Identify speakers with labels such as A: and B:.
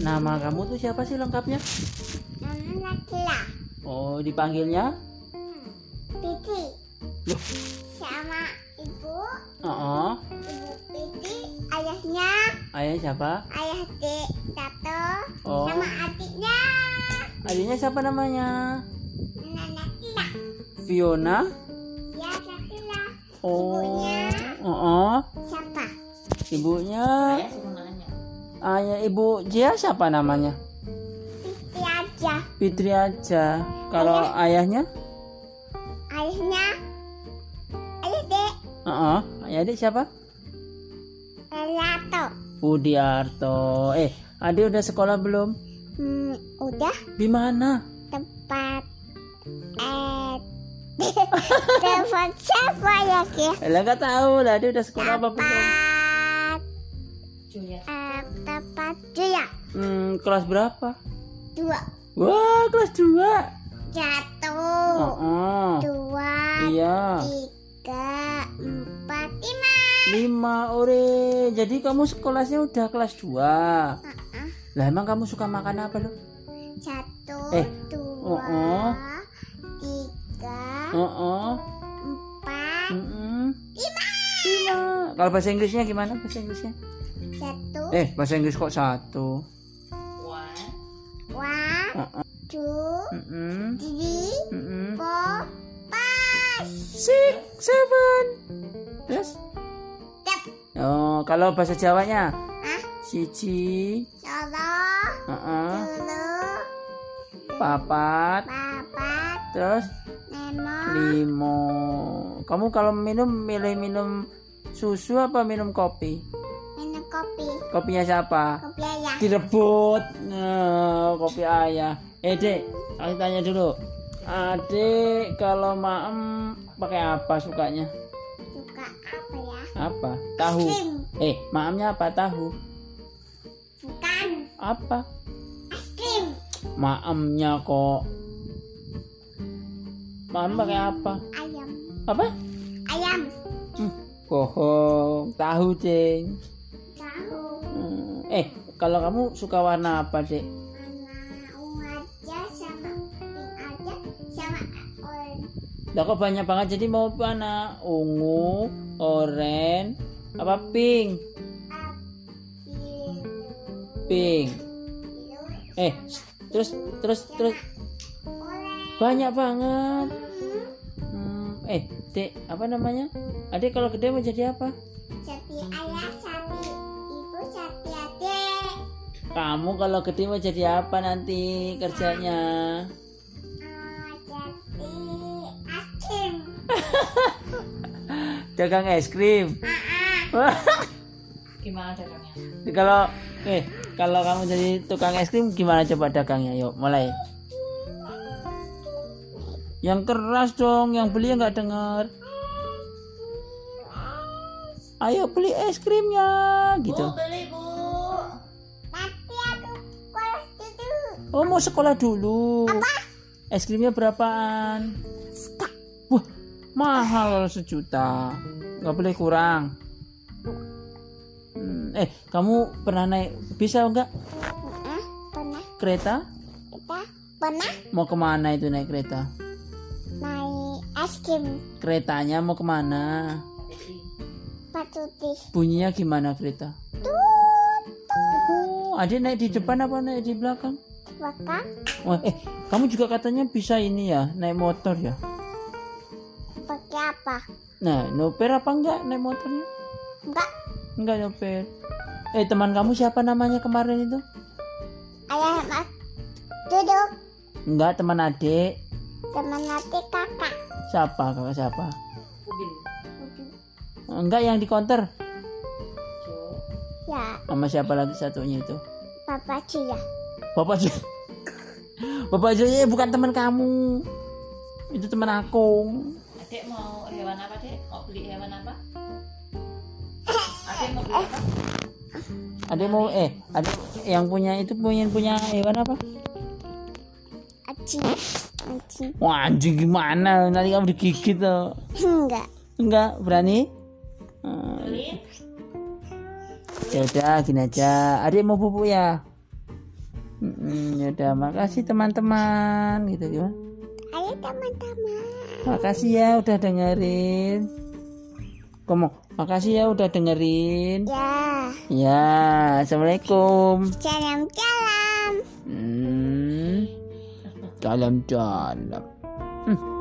A: Nama kamu tuh siapa sih lengkapnya?
B: Nama laki lah.
A: Oh, dipanggilnya?
B: Piti.
A: Loh.
B: Sama ibu,
A: Oh,
B: ibu Piti, ayahnya,
A: ayah siapa?
B: ayah adik Tato,
A: Oh.
B: sama adiknya.
A: Adiknya siapa namanya?
B: Nama laki lah.
A: Fiona.
B: Ya laki lah.
A: Oh,
B: Ibunya.
A: oh,
B: Siapa?
A: ibunya.
C: Saya suruh nanya.
A: Ayah ibu Jia siapa namanya?
B: Piti aja.
A: Fitri aja. Kalau ayahnya?
B: Ayahnya, ayah adik
A: Oh, ayah adik siapa?
B: Tato.
A: Budiarto. Eh, adik udah sekolah belum?
B: Hmm, udah
A: Di mana?
B: tempat eh tempat siapa ya ki?
A: Eh, lah gak tahu lah dia udah sekolah apa belum?
B: Tempat
C: Julia.
B: eh, tempat dia
A: Hmm, kelas berapa?
B: dua
A: Wah, kelas 2. Oh,
B: jatuh
A: oh.
B: dua
A: Iya.
B: tiga empat lima
A: 5 ore. Jadi kamu sekolahnya udah kelas 2.
B: Heeh.
A: Lah emang kamu suka makan apa lu?
B: satu
A: Eh,
B: dua
A: oh.
B: tiga
A: Oh, oh.
B: empat
A: Mm-mm. Lima. Kalau bahasa Inggrisnya gimana bahasa Inggrisnya?
B: satu
A: Eh, bahasa Inggris kok satu.
C: One.
B: one
A: Heeh.
B: two
A: Mm-mm.
B: three
A: Mm-mm.
B: four five
A: Six, seven. Terus?
B: Tep.
A: Oh, kalau bahasa Jawanya
B: ah
A: siji,
B: solo
A: heeh,
B: dulu
A: papat,
B: papat
A: terus
B: nemo
A: limo. Kamu kalau minum milih minum susu apa minum kopi?
B: minum kopi
A: Kopinya siapa?
B: kopi ayah
A: Direbut. Nah, kopi ayah. Eh, Dek, aku tanya dulu. Adik kalau maem pakai apa sukanya?
B: suka apa ya
A: Apa? Tahu.
B: Krim.
A: Eh, maemnya apa? Tahu.
B: bukan
A: Apa?
B: es krim
A: Maemnya kok. Maem pakai apa?
B: ayam
A: Apa?
B: ayam
A: Bohong. Tahu, Deng.
B: tahu
A: Hmm, Eh, kalau kamu suka warna apa, Dek?
B: warna ungu aja sama pink aja sama orange
A: Lah kok banyak banget jadi mau warna ungu, oranye, apa pink?
B: ah, biru
A: Pink.
B: biru
A: Eh, terus terus terus
B: orange
A: banyak banget.
B: Hmm,
A: Hmm, eh, Dek, apa namanya? Adik kalau gede mau jadi apa?
B: jadi ayah jadi ibu jadi adik
A: Kamu kalau gede mau jadi apa nanti kerjanya?
B: Ah, jadi es krim
A: Dagang es krim.
B: Ah,
C: Gimana dagangnya?
A: kalau eh kalau kamu jadi tukang es krim gimana coba dagangnya? Yuk, mulai.
B: Hmm.
A: Yang keras dong, yang beli nggak dengar. Ayo beli es krimnya gitu.
C: Bu beli bu.
B: Nanti aku kelas dulu.
A: Oh mau sekolah dulu. Es krimnya berapaan? Wah mahal sejuta. Nggak boleh kurang. Hmm, eh kamu pernah naik bisa nggak
B: Heeh, pernah
A: kereta?
B: kita pernah
A: Mau kemana itu naik kereta?
B: naik es krim
A: Keretanya mau kemana?
B: batu putih.
A: Bunyinya gimana kereta?
B: Tut,
A: Oh, adik naik di depan apa naik di belakang?
B: bakar
A: Wah, eh, kamu juga katanya bisa ini ya, naik motor ya?
B: pakai apa?
A: Nah, noper apa enggak naik motornya?
B: Enggak,
A: Enggak noper. Eh, teman kamu siapa namanya kemarin itu?
B: ayah mas duduk
A: Enggak, teman adik.
B: teman nanti kakak.
A: Siapa, kakak siapa?
C: Ubin.
A: Enggak, yang di konter.
C: Jo.
B: Ya,
A: Sama siapa lagi satunya itu?
B: papa ya. juga.
A: Bapak Jo. Bapak Jo eh, bukan teman kamu. Itu teman aku.
C: Adek mau hewan apa dek? Mau beli hewan apa? Adek mau beli apa?
A: Ada mau eh ada yang punya itu punya punya hewan apa?
B: Aci, aci.
A: Wah anjing gimana? Nanti kamu digigit loh.
B: Enggak.
A: Enggak berani? Hmm,
C: Beli.
A: ya udah gini aja. Adik mau pupuk ya? Hmm, ya udah makasih teman-teman gitu gimana?
B: Ayo teman-teman.
A: Makasih ya udah dengerin. Kamu makasih ya udah dengerin.
B: Ya.
A: Ya, assalamualaikum.
B: Salam-salam.
A: Hmm, dalam dalam. Hmm.